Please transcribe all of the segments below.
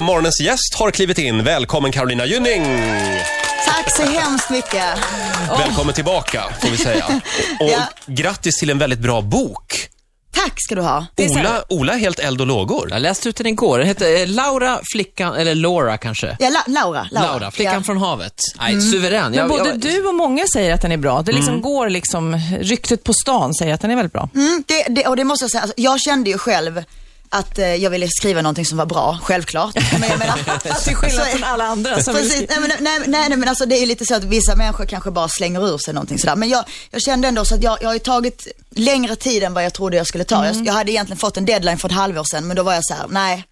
morgonens gäst har klivit in. Välkommen Carolina Gynning! Tack så hemskt mycket. Välkommen tillbaka, får vi säga. Och Ja. grattis till en väldigt bra bok. Tack ska du ha. Oh. Det är så här- Ola, Ola är helt eld och lågor. Jag läste ut den igår. Den hette eh, Laura, flickan, eller Laura kanske. Ja, La- Laura. Laura. Laura, flickan ja. från havet. Nej, suverän. Mm. Men Jag, både jag, du och många säger att den är bra. Det liksom går liksom, ryktet på stan säger att den är väldigt bra. mm, det, det, och det måste jag säga, alltså, jag kände ju själv att eh, jag ville skriva någonting som var bra, självklart. Men jag menar, alltså, Till skillnad så- från alla andra som Precis, nej men, nej, nej, nej, men alltså det är ju lite så att vissa människor kanske bara slänger ur sig någonting sådär. Men jag, jag kände ändå så att jag, jag har ju tagit längre tid än vad jag trodde jag skulle ta. Mm. Jag, jag hade egentligen fått en deadline för ett halvår sedan men då var jag så här: nej,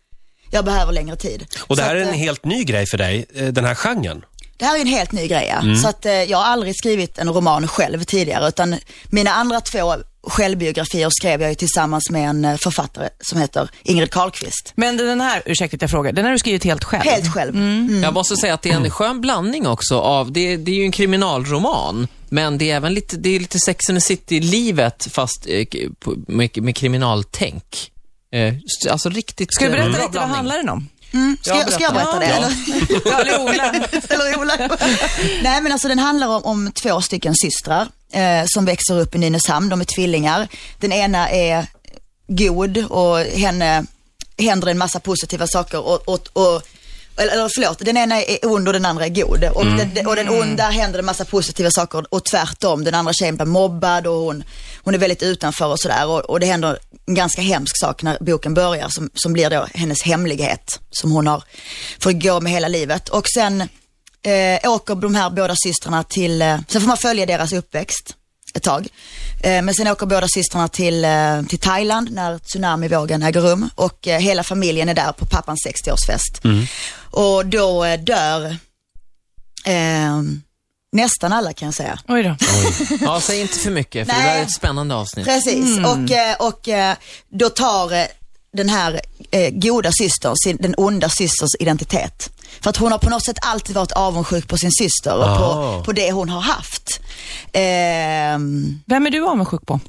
jag behöver längre tid. Och det Så här är att, en eh, helt ny grej för dig, eh, den här genren. Det här är en helt ny grej, ja. så att eh, jag har aldrig skrivit en roman själv tidigare utan mina andra två självbiografier skrev jag ju tillsammans med en eh, författare som heter Ingrid Carlqvist. Men den här, ursäkta att jag frågar, den har du skrivit helt själv? Helt själv. Mm. Mm. jag måste säga att det är en skön blandning också av, det, det är ju en kriminalroman, men det är även lite, det är lite Sex and the City-livet fast eh, k- på- med, med kriminaltänk. Eh, st- alltså riktigt Ska du eh, berätta bra lite, vad blandning. handlar den om? Mm. Ska, jag, ska jag berätta det? Ja. eller? Ja, eller Ola. Eller Ola. Nej men alltså den handlar om, om två stycken systrar eh, som växer upp i Nynäshamn. De är tvillingar. Den ena är god och henne händer en massa positiva saker och, och, och eller eller förlåt, den ena är ond och den andra är god. Och, den, och den onda händer en massa positiva saker och tvärtom. Den andra tjejen blir mobbad och hon, hon är väldigt utanför och sådär. Och, och det händer en ganska hemsk sak när boken börjar som, som blir då hennes hemlighet som hon har får gå med hela livet. Och sen eh, åker de här båda systrarna till, eh, sen får man följa deras uppväxt ett tag. Eh, men sen åker båda systrarna till, eh, till Thailand när tsunamivågen äger rum och eh, hela familjen är där på pappans 60-årsfest. Och då eh, dör eh, nästan alla kan jag säga. Oj då. Ja, säg inte för mycket, för det Nej. där är ett spännande avsnitt. Precis, och, eh, och eh, då tar eh, den här eh, goda systern, sin, den onda systerns identitet. För att hon har på något sätt alltid varit avundsjuk på sin syster och Ah. på, på det hon har haft. Ehm, Vem är du avundsjuk på?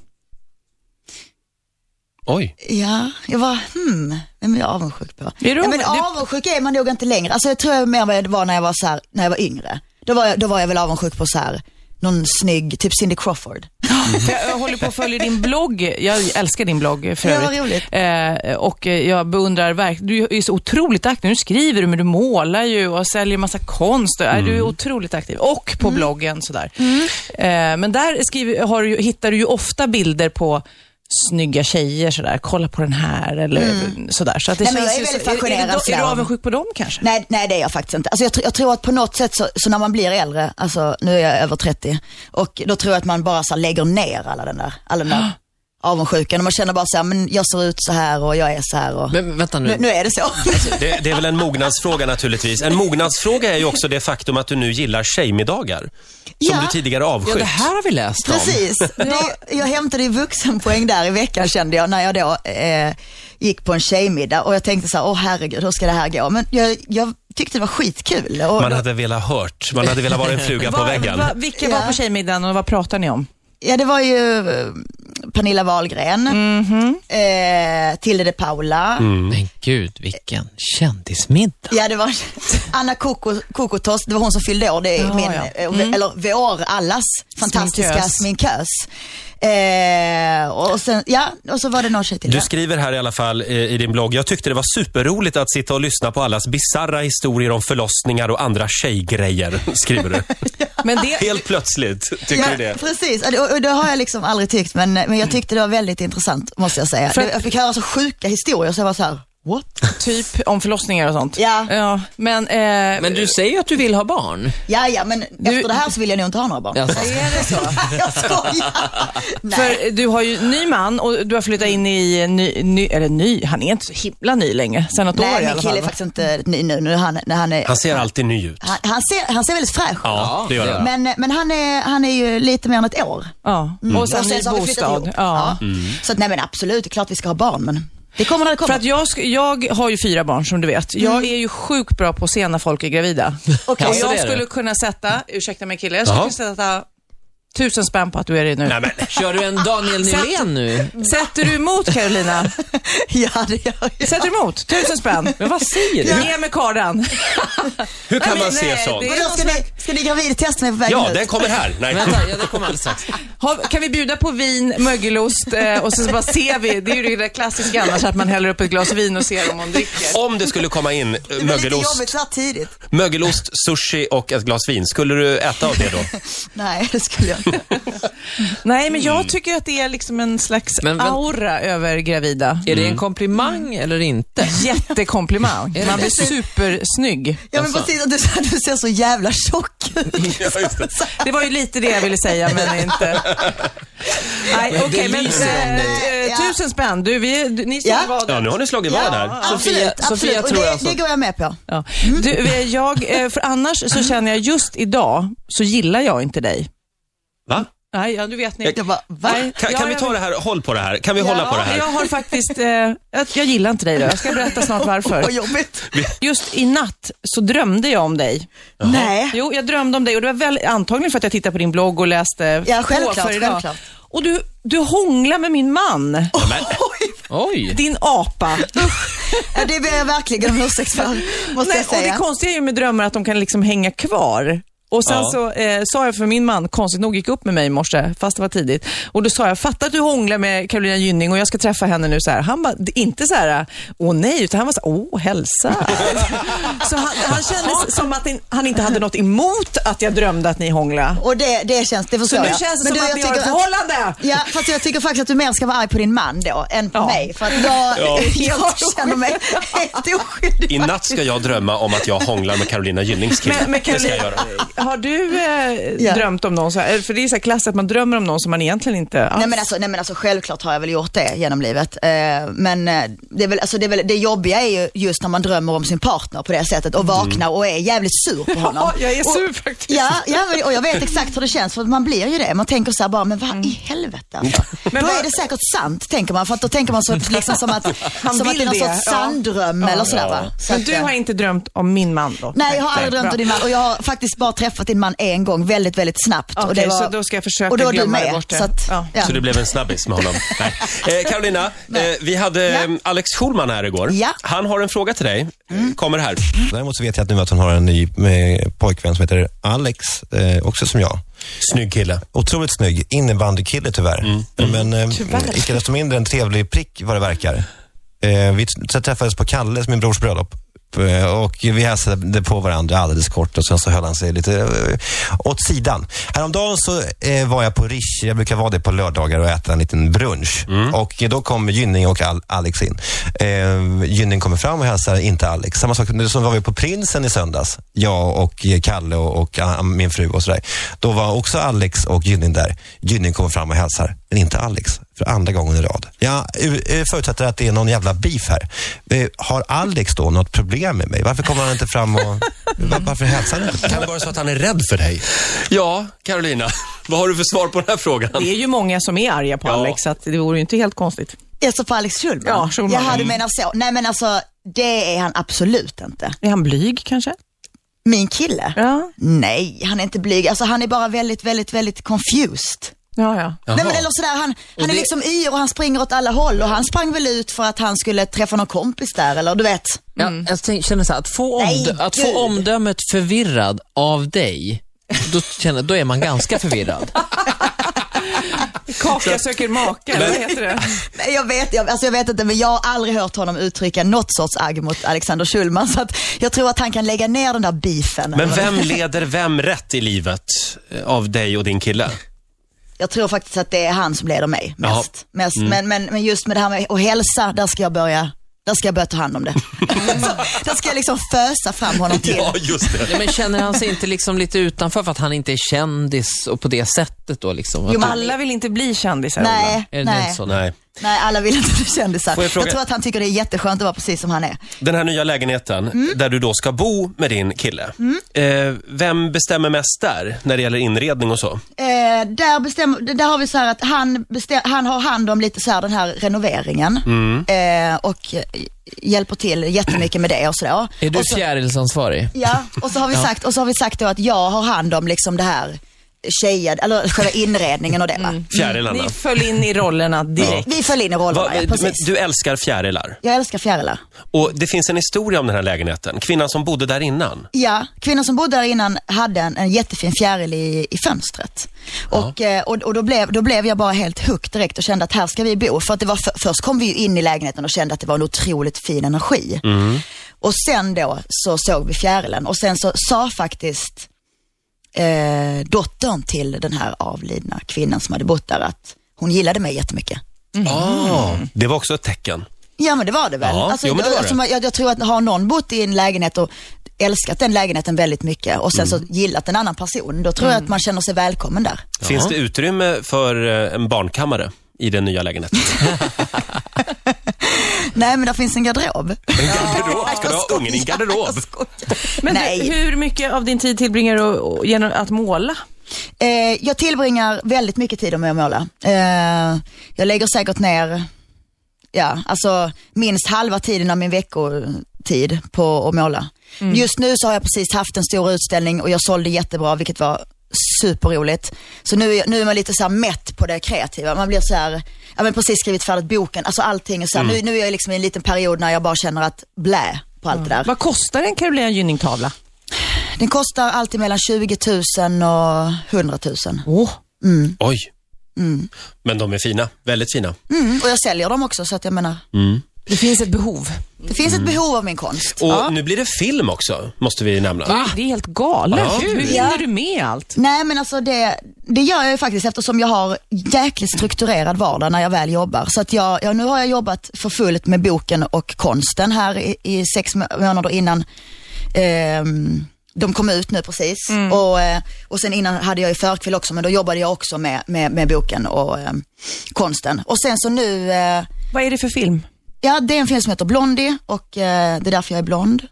Oj. ja, jag var hmm, vem är jag avundsjuk på? du ja, men avundsjuk? Du- avundsjuk är man nog inte längre. Alltså jag tror jag mer vad det var när jag var så här, när jag var yngre. Då var jag, då var jag väl avundsjuk på så här, någon snygg, typ Cindy Crawford. För jag, jag håller på att följa din blogg. Jag älskar din blogg för Ja, vad övrigt. Eh, och eh, jag beundrar verkligen, du är ju så otroligt aktiv. Nu skriver du, men du målar ju och säljer massa konst. Och, eh, Mm. Du är otroligt aktiv. Och på Mm. bloggen sådär. Eh, men där skriver, har du, ju- hittar du ju ofta bilder på snygga tjejer sådär. Kolla på den här eller sådär. Så att det Mm. Nej, känns men jag är ju väldigt så, är, är, fascinerad du, är du sådär. avundsjuk på dem kanske? Nej, nej det är jag faktiskt inte. Alltså jag, tr- jag tror att på något sätt så, så när man blir äldre, alltså nu är jag över 30, och då tror jag att man bara så här, lägger ner alla den där, alla den där avundsjukan. Och man känner bara så här, men jag ser ut så här och jag är så här och... Men vänta nu, nu är det så. Det, det är väl en mognadsfråga naturligtvis. En mognadsfråga är ju också det faktum att du nu gillar tjejmiddagar. Som Ja. du tidigare Ja, avskytt. det här har vi läst om. Precis. Det, jag hämtade ju vuxenpoäng där i veckan kände jag när jag då eh, gick på en tjejmiddag och jag tänkte så här, åh herregud hur ska det här gå? Men jag, jag tyckte det var skitkul. Och Man då- hade velat hört, man hade velat vara en fluga på Vad- väggen. vad- vilka var Ja. på tjejmiddagen och vad pratar ni om? Ja, det var ju eh, Pernilla Wahlgren, eh, Tilde de Paula, Mm. Men gud, vilken kändismiddag. ja, det var Anna Koko- Kokotos, det var hon som fyllde år, det är Ja, min, ja. Mm. eh, eller vår, allas fantastiska Sminkös. sminkös. Eh, och, sen, ja, och så var det någon tjej till. Du ja. skriver här i alla fall eh, i din blogg, jag tyckte det var superroligt att sitta och lyssna på allas bizarra historier om förlossningar och andra tjejgrejer, skriver du. Men det, Helt plötsligt, tycker du Ja, det? Mm. precis, Ja, det- och och det har jag liksom aldrig tyckt men, men jag tyckte det var väldigt intressant måste jag säga. För att- jag fick höra så sjuka historier så jag var så här, what? typ om förlossningar och sånt. Ja. ja men, eh, Men du säger ju att du vill ha barn. Ja, ja men efter det här så vill jag nog inte ha några barn. Alltså. är det så? jag skojar. Nej. För du har ju ny man och du har flyttat in i ny, ny eller ny, han är inte så himla ny längre, sen något år Nej, i min alla kille är fall. faktiskt inte ny nu när han, när han är... Han ser alltid ny ut. Han, han, ser, han ser väldigt fräsch ut. Ja, det gör det gör han. Men, men han, är, han är ju lite mer än ett år. Ja. Och sen ny Mm. så har vi flyttat bostad. ihop. Ja. Mm. Ja. Så att, nej men absolut, det är klart vi ska ha barn men det kommer när det För kommer. att jag, sk- jag har ju fyra barn som du vet. Mm. Jag är ju sjukt bra på att se när folk är gravida. Okej. Och Alltså, det är jag du. skulle kunna sätta, ursäkta mig kille, jag skulle Jaha. kunna sätta Tusen spänn på att du är det nu. Nej, men. Kör du en Daniel Nylén nu? Sätter du emot Carolina? Ja, det gör jag. Sätter du emot? Tusen spänn. Men vad säger du? Ge mig kardan. Hur kan Nej, man se nej, sånt? det- Vadå, ska ni, ska ni gravidtesta mig på vägen Ja, ut? den kommer här. Nej. Vänta, ja, det kommer alldeles strax. Har, kan vi bjuda på vin, mögelost eh, och så bara ser vi. Det är ju det där klassiska annars att man häller upp ett glas vin och ser om hon dricker. Om det skulle komma in eh, Det är lite mögelost, jobbigt så här tidigt. mögelost, sushi och ett glas vin, skulle du äta av det då? Nej, det skulle jag inte. Nej, men jag tycker att det är liksom en slags Mm. Men vänt- aura över gravida. Är det en komplimang eller inte? Jättekomplimang. det Man det? blir supersnygg. Ja, men Jaså? precis. att Du, du ser så jävla tjock ut. Ja, just det. Det var ju lite det jag ville säga, men inte. Nej, Men det okej, men lyser om eh, dig. eh, tusen spänn. Du, vi, är- du, ni ska Ja. vara Ja, nu har ni slagit vad här. Sofia- absolut. Sofia absolut. tror Och det, alltså- det går jag med på. Ja. Du, eh, jag, eh, för annars så känner jag just idag så gillar jag inte dig. Va? Nej, ja, du vet ni. Jag- Jag bara, va? Nej, Kan, ja, kan vi jag- ta det här, håll på det här. Kan vi hålla på det Ja, här? Jag har faktiskt, eh, jag, jag gillar inte dig då. Jag ska berätta snart Vad varför. jobbigt. Just i natt så drömde jag om dig. Nej. Jo, jag drömde om dig och det var väl, antagligen för att jag tittade på din blogg och läste Ja, på självklart, för idag. självklart. Och du, du hånglar med min man, Oj, Oj. din apa. ja, det ber jag verkligen om ursäkt för, måste Nej, jag och det säga. konstiga är ju med drömmar att de kan liksom hänga kvar. Och sen Ja. så eh, sa jag för min man, konstigt nog gick upp med mig i morse, fast det var tidigt. Och då sa jag, fatta att du hånglar med Carolina Gynning och jag ska träffa henne nu så här. Han bara, det- inte så här, åh nej, utan han var så här, åh hälsa. så han, han kändes som att in- han inte hade något emot att jag drömde att ni hånglade. Och det, det känns, det Så förstår nu jag. känns det som Men du, att jag ni har ett tycker förhållande. Ja, fast jag tycker faktiskt att du mer ska vara arg på din man då, än på Ja. mig. För att jag, Ja. jag känner mig helt oskyldig. I natt ska jag drömma om att jag hånglar med Carolina Gyllings kille. Men, men det ska jag Caroline, göra. har du eh, Ja. drömt om någon så här? För det är så här klassiskt att man drömmer om någon som man egentligen inte alls... Nej men, alltså, nej men alltså självklart har jag väl gjort det genom livet. Eh, men eh, det, är väl, alltså, det, är väl, det jobbiga är ju just när man drömmer om sin partner på det sättet och vaknar och är jävligt sur på honom. Mm. Ja, jag är sur och, faktiskt. Ja, ja men, och jag vet exakt hur det känns för man blir ju det. Man tänker så här bara, men vad i helvete alltså. Mm. Men då vad- är det säkert sant tänker man, för att då tänker man så, att- liksom som att, som att vill det är någon det, sorts ja. sanddröm eller sådär va. Så Men att, du eh, har inte drömt om min man då? Nej, jag har aldrig drömt bra. om din man och jag har faktiskt bara träffat din man en gång väldigt, väldigt snabbt. och Okej, det var, så då ska jag försöka och då var du glömma det med, bort det. Så att, Ja. ja. Så det blev en snabbis med honom. Nej. Eh, Carolina, eh, vi hade eh, Alex Schulman här igår. Ja. Han har en fråga till dig. Eh, Kommer här. Däremot så vet jag att nu att hon har en ny eh, pojkvän som heter Alex, eh, också som jag. Snygg kille. Otroligt snygg, innebandykille tyvärr. Men eh, Tyvärr. icke desto mindre en trevlig prick vad det verkar. Eh, vi t- träffades på Kalles, min brors bröllop. Eh, Och vi hälsade på varandra alldeles kort och sen så höll han sig lite eh, åt sidan. Häromdagen så eh, var jag på Rish, jag brukar vara det på lördagar och äta en liten brunch. Och eh, då kom Gynning och Al- Alex in. Eh, Gynning kommer fram och hälsar inte Alex. Samma sak, nu så var vi på Prinsen i söndags. Jag och eh, Kalle och, och ah, min fru och sådär. Då var också Alex och Gynning där. Gynning kommer fram och hälsar, men inte Alex. För andra gången i rad. Jag eh, förutsätter att det är någon jävla beef här. Eh, Har Alex då något problem med mig? Varför kommer han inte fram och... Var, varför hälsar han inte? Kan det vara så att han är rädd för dig? Ja, Carolina. Vad har du för svar på den här frågan? Det är ju många som är arga på Ja. Alex, så att det vore ju inte helt konstigt. Alltså på Alex Schulman? Ja, Schulman. Jaha, du Mm. menar så. Nej men alltså, det är han absolut inte. Är han blyg kanske? Min kille? Ja, Nej, han är inte blyg. Alltså han är bara väldigt, väldigt, väldigt confused. ja, ja. Nej men eller sådär, han, han är det- liksom yr och han springer åt alla håll och han sprang väl ut för att han skulle träffa någon kompis där eller du vet. Ja, jag tänk- känner så här, att få, Mm. Nej, omdö- att gud. få omdömet förvirrad av dig, då, känner, då är man ganska förvirrad. Kaka söker make, vad heter det? Nej, jag vet, jag, alltså jag vet inte, men jag har aldrig hört honom uttrycka något sorts agg mot Alexander Schulman så att jag tror att han kan lägga ner den där beefen. Men vem leder vem rätt i livet eh, av dig och din kille? Jag tror faktiskt att det är han som leder mig Jaha. Mm. mest. mest. Men, men, men just med det här med att hälsa, där ska jag börja där ska jag börja ta hand om det. Så, där ska jag liksom fösa fram honom till. Ja, just det. Nej, men känner han sig inte liksom lite utanför för att han inte är kändis och på det sättet då? Liksom, att Jo, men- du- Alla vill inte bli kändisar, Ola. Nej, är det nej. inte så? Nej. nej, alla vill inte bli kändisar. Får jag Jag, fråga- tror att han tycker det är jätteskönt att vara precis som han är. Den här nya lägenheten, där du då ska bo med din kille. Eh, vem bestämmer mest där, när det gäller inredning och så? Eh, där, bestämmer, där har vi så här att han, bestäm, han har hand om lite så här den här renoveringen eh, och eh, hjälper till jättemycket med det och sådär. Är du och så, fjärilsansvarig? Ja, och så har vi sagt, och så har vi sagt då att jag har hand om liksom det här tjejer, eller själva inredningen och det Ah. va. Fjärilarna. Mm. Ni föll in i rollerna direkt. Vi föll in i rollerna, Va, ja, men precis. du älskar fjärilar. Jag älskar fjärilar. Och det finns en historia om den här lägenheten. Kvinnan som bodde där innan. Ja, kvinnan som bodde där innan hade en, en jättefin fjäril i, i fönstret. Och, eh, och, och då, blev, då blev jag bara helt hooked direkt och kände att här ska vi bo. För att det var för, först kom vi ju in i lägenheten och kände att det var en otroligt fin energi. Och sen då så såg vi fjärilen och sen så sa faktiskt eh, dottern till den här avlidna kvinnan som hade bott där att hon gillade mig jättemycket. Ah, Mm. det var också ett tecken. Ja men det var det väl. Ja, alltså, jo, men det var det. alltså, man- Jag, jag tror att har någon bott i en lägenhet och älskat den lägenheten väldigt mycket och Mm. sen så gillat en annan person, då tror jag att man känner sig välkommen där. Finns det utrymme för eh, en barnkammare i den nya lägenheten? Mm. Nej men där finns en garderob. En garderob? Ska du ha ungen i en garderob? Men Nej. Du, hur mycket av din tid tillbringar du och- genom att måla? Eh, jag tillbringar väldigt mycket tid med att måla. Eh, jag lägger säkert ner, ja alltså minst halva tiden av min veckotid på att måla. Just nu så har jag precis haft en stor utställning och jag sålde jättebra vilket var superroligt. Så nu är, nu är man lite så här mätt på det kreativa. Man blir så här, ja men precis skrivit färdigt boken, alltså allting är så här, nu, nu är jag liksom i en liten period när jag bara känner att blä på allt det där. Vad kostar en Carolina Gynning-tavla? Den kostar alltid mellan 20 000 och 100 000. Åh, Oj. Men de är fina. Väldigt fina. Mm, och jag säljer dem också så att jag menar, det finns ett behov. det finns ett behov av min konst. Och nu blir det film också, måste vi nämna. Det är helt galet. Ja. Hur Ja. hinner du med allt? Nej men alltså det, det gör jag ju faktiskt eftersom jag har jäkligt strukturerad vardag när jag väl jobbar. Så att jag, ja, nu har jag jobbat för fullt med boken och konsten här i, i sex må- månader innan ehm, de kom ut nu precis. Och, eh, och sen innan hade jag ju förkväll också men då jobbade jag också med, med, med boken och ehm, konsten. Och sen så nu eh, Vad är det för film? Ja, det är en film som heter Blondie och eh, det är därför jag är blond.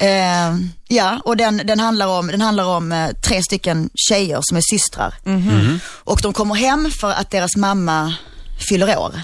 Eh, ja, och den, den handlar om, den handlar om eh, tre stycken tjejer som är systrar. Och de kommer hem för att deras mamma fyller år.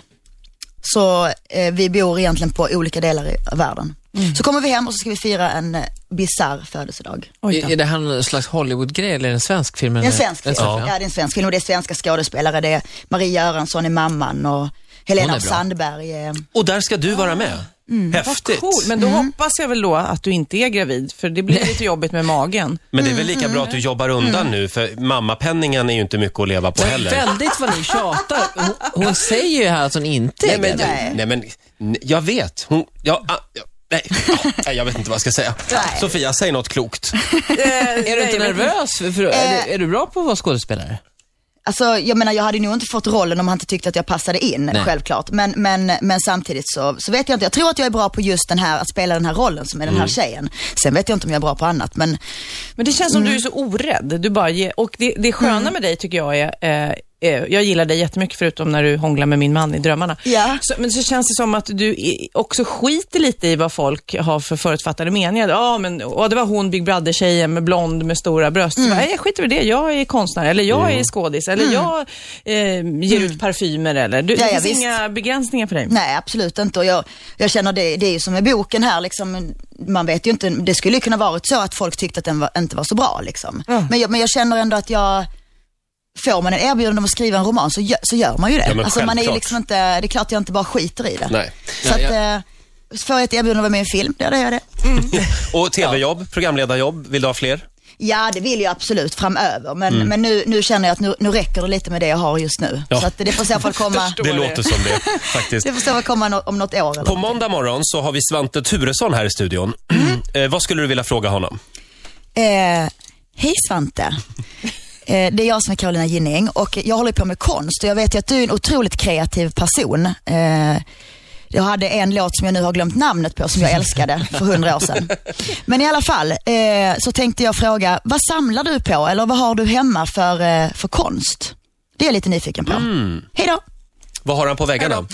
Så eh, vi bor egentligen på olika delar i världen. Så kommer vi hem och så ska vi fira en eh, bisarr födelsedag. Oj Är, är det här någon slags Hollywood-grej eller är det en svensk film? Det är en svensk film. ja. Ja. det är en svensk film och det är svenska skådespelare. Det är Maria Göransson är mamman och Helena Hon är bra. Sandberg eh, är... Och där ska du vara med. Mm. Häftigt. Cool, men då hoppas jag väl då att du inte är gravid, för det blir lite jobbigt med magen. Men det är väl Mm. lika bra att du jobbar undan nu, för mammapenningen är ju inte mycket att leva på heller. Väldigt vad ni tjatar. Hon, hon säger ju här att hon inte är Nej, men, gravid. nej, men n- jag vet. Hon, ja, ah, ja, nej, Ah, nej, jag vet inte vad jag ska säga. Nej. Sofia, säg något klokt. Är du inte nervös? För, för, är, du, är du bra på att vara skådespelare? Alltså jag menar jag hade nog inte fått rollen om han inte tyckte att jag passade in, Nej. självklart. Men, men, men samtidigt så, så vet jag inte, jag tror att jag är bra på just den här, att spela den här rollen som är den här Mm. tjejen. Sen vet jag inte om jag är bra på annat men Men det känns som Mm. du är så orädd. Du bara ger, och det, det sköna med dig tycker jag är, eh, eh, jag gillar dig jättemycket förutom när du hånglar med min man i drömmarna. Ja. Så, men så känns det som att du i- också skiter lite i vad folk har för förutfattade meningar. Ja, men åh, det var hon Big Brother-tjejen med blond med stora bröst. Mm. Så bara, "Nej, jag skiter i det, jag är konstnär eller jag är skådis eller jag eh, ger ut parfymer eller. Du, Mm. Ja, det ja, finns visst. inga begränsningar för dig. nej absolut inte. Och jag, jag känner det, det är ju som med boken här liksom, man vet ju inte, det skulle ju kunna varit så att folk tyckte att den var, inte var så bra liksom. Men, jag, men jag känner ändå att jag, får man en erbjudande om att skriva en roman så gör, så gör man ju det. Ja, men alltså man är ju självklart. liksom inte, det är klart jag inte bara skiter i det. Nej. Så att, eh, får jag ett erbjudande att vara med i en film, ja, då gör jag det. Och tv-jobb, programledarjobb, vill du ha fler? Ja, det vill jag absolut framöver. Men, men nu, nu känner jag att nu, nu räcker det lite med det jag har just nu. Mm. Ja. Så att det får i så fall komma, Det låter som det, faktiskt. det får i så fall komma nå- om något år. Eller? På måndag morgon så har vi Svante Turesson här i studion. Eh, vad skulle du vilja fråga honom? Eh, hej Svante. Eh, det är jag som är Carolina Ginning och jag håller på med konst och jag vet ju att du är en otroligt kreativ person. Eh, jag hade en låt som jag nu har glömt namnet på som jag älskade för hundra år sedan. Men i alla fall eh, så tänkte jag fråga, vad samlar du på eller vad har du hemma för, eh, för konst? Det är jag lite nyfiken på. Mm. Hej då! Vad har han på väggarna?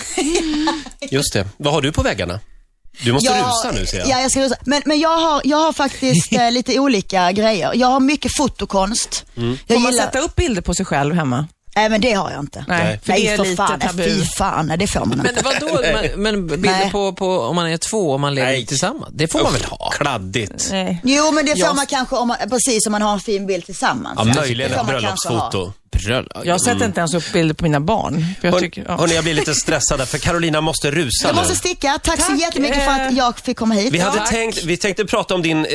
Just det. Vad har du på väggarna? Du måste rusa nu, ser jag. Ja, jag ska rusa. Men, men jag, har, jag har faktiskt eh, lite olika grejer. Jag har mycket fotokonst. Jag Mm. Får man sätta upp bilder på sig själv hemma? Nej men det har jag inte. Nej, för nej, det är för lite fan, nej, tabu. Fy fan, nej, det får man inte. Men vadå, men, men bilder Nej. på, på om man är två och man lever Nej. tillsammans, det får man väl ha? Kladdigt. Nej. Jo men det får Jag- man kanske om man, precis om man har en fin bild tillsammans. Ja, Det möjligen får ett man kanske ha. bröllopsfoto. Bröll- Jag sätter inte ens upp bilder på mina barn. För jag Hör- tycker, ja. Hörni, jag blir lite stressad där, för Carolina måste rusa Jag nu. måste sticka. Tack, så Tack, jättemycket för att eh, jag fick komma hit. Vi, hade Tack. tänkt, vi tänkte prata om din eh,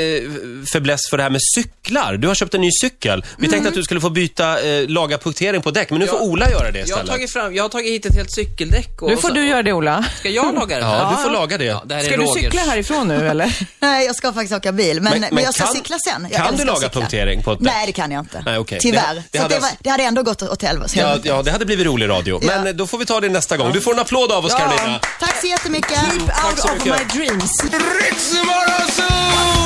fäbless för det här med cyklar. Du har köpt en ny cykel. Vi Mm. tänkte att du skulle få byta, eh, laga punktering på däck, men nu får Ola göra det Jag har, istället. tagit fram, jag har tagit hit ett helt cykeldäck. Och Nu får du göra det Ola. Ska jag laga det Ja, här? du får laga det. Ja, det här Ska är du Rogers. cykla härifrån nu eller? Nej, jag ska faktiskt åka bil, men, Men- men, men jag ska kan- cykla sen. Jag kan älskar du laga att cykla. punktering på ett däck? Nej, det kan jag inte. Nej, okej. Tyvärr. Det- det Det, det, så att hade det, var, alltså- det hade ändå gått åt helvete. Ja, ja, det hade blivit rolig radio. Men eh, då får vi ta det nästa gång. Du får en applåd av oss, Carolina. Tack så jättemycket. Tack så mycket. dreams. Ritzmorgonzoo!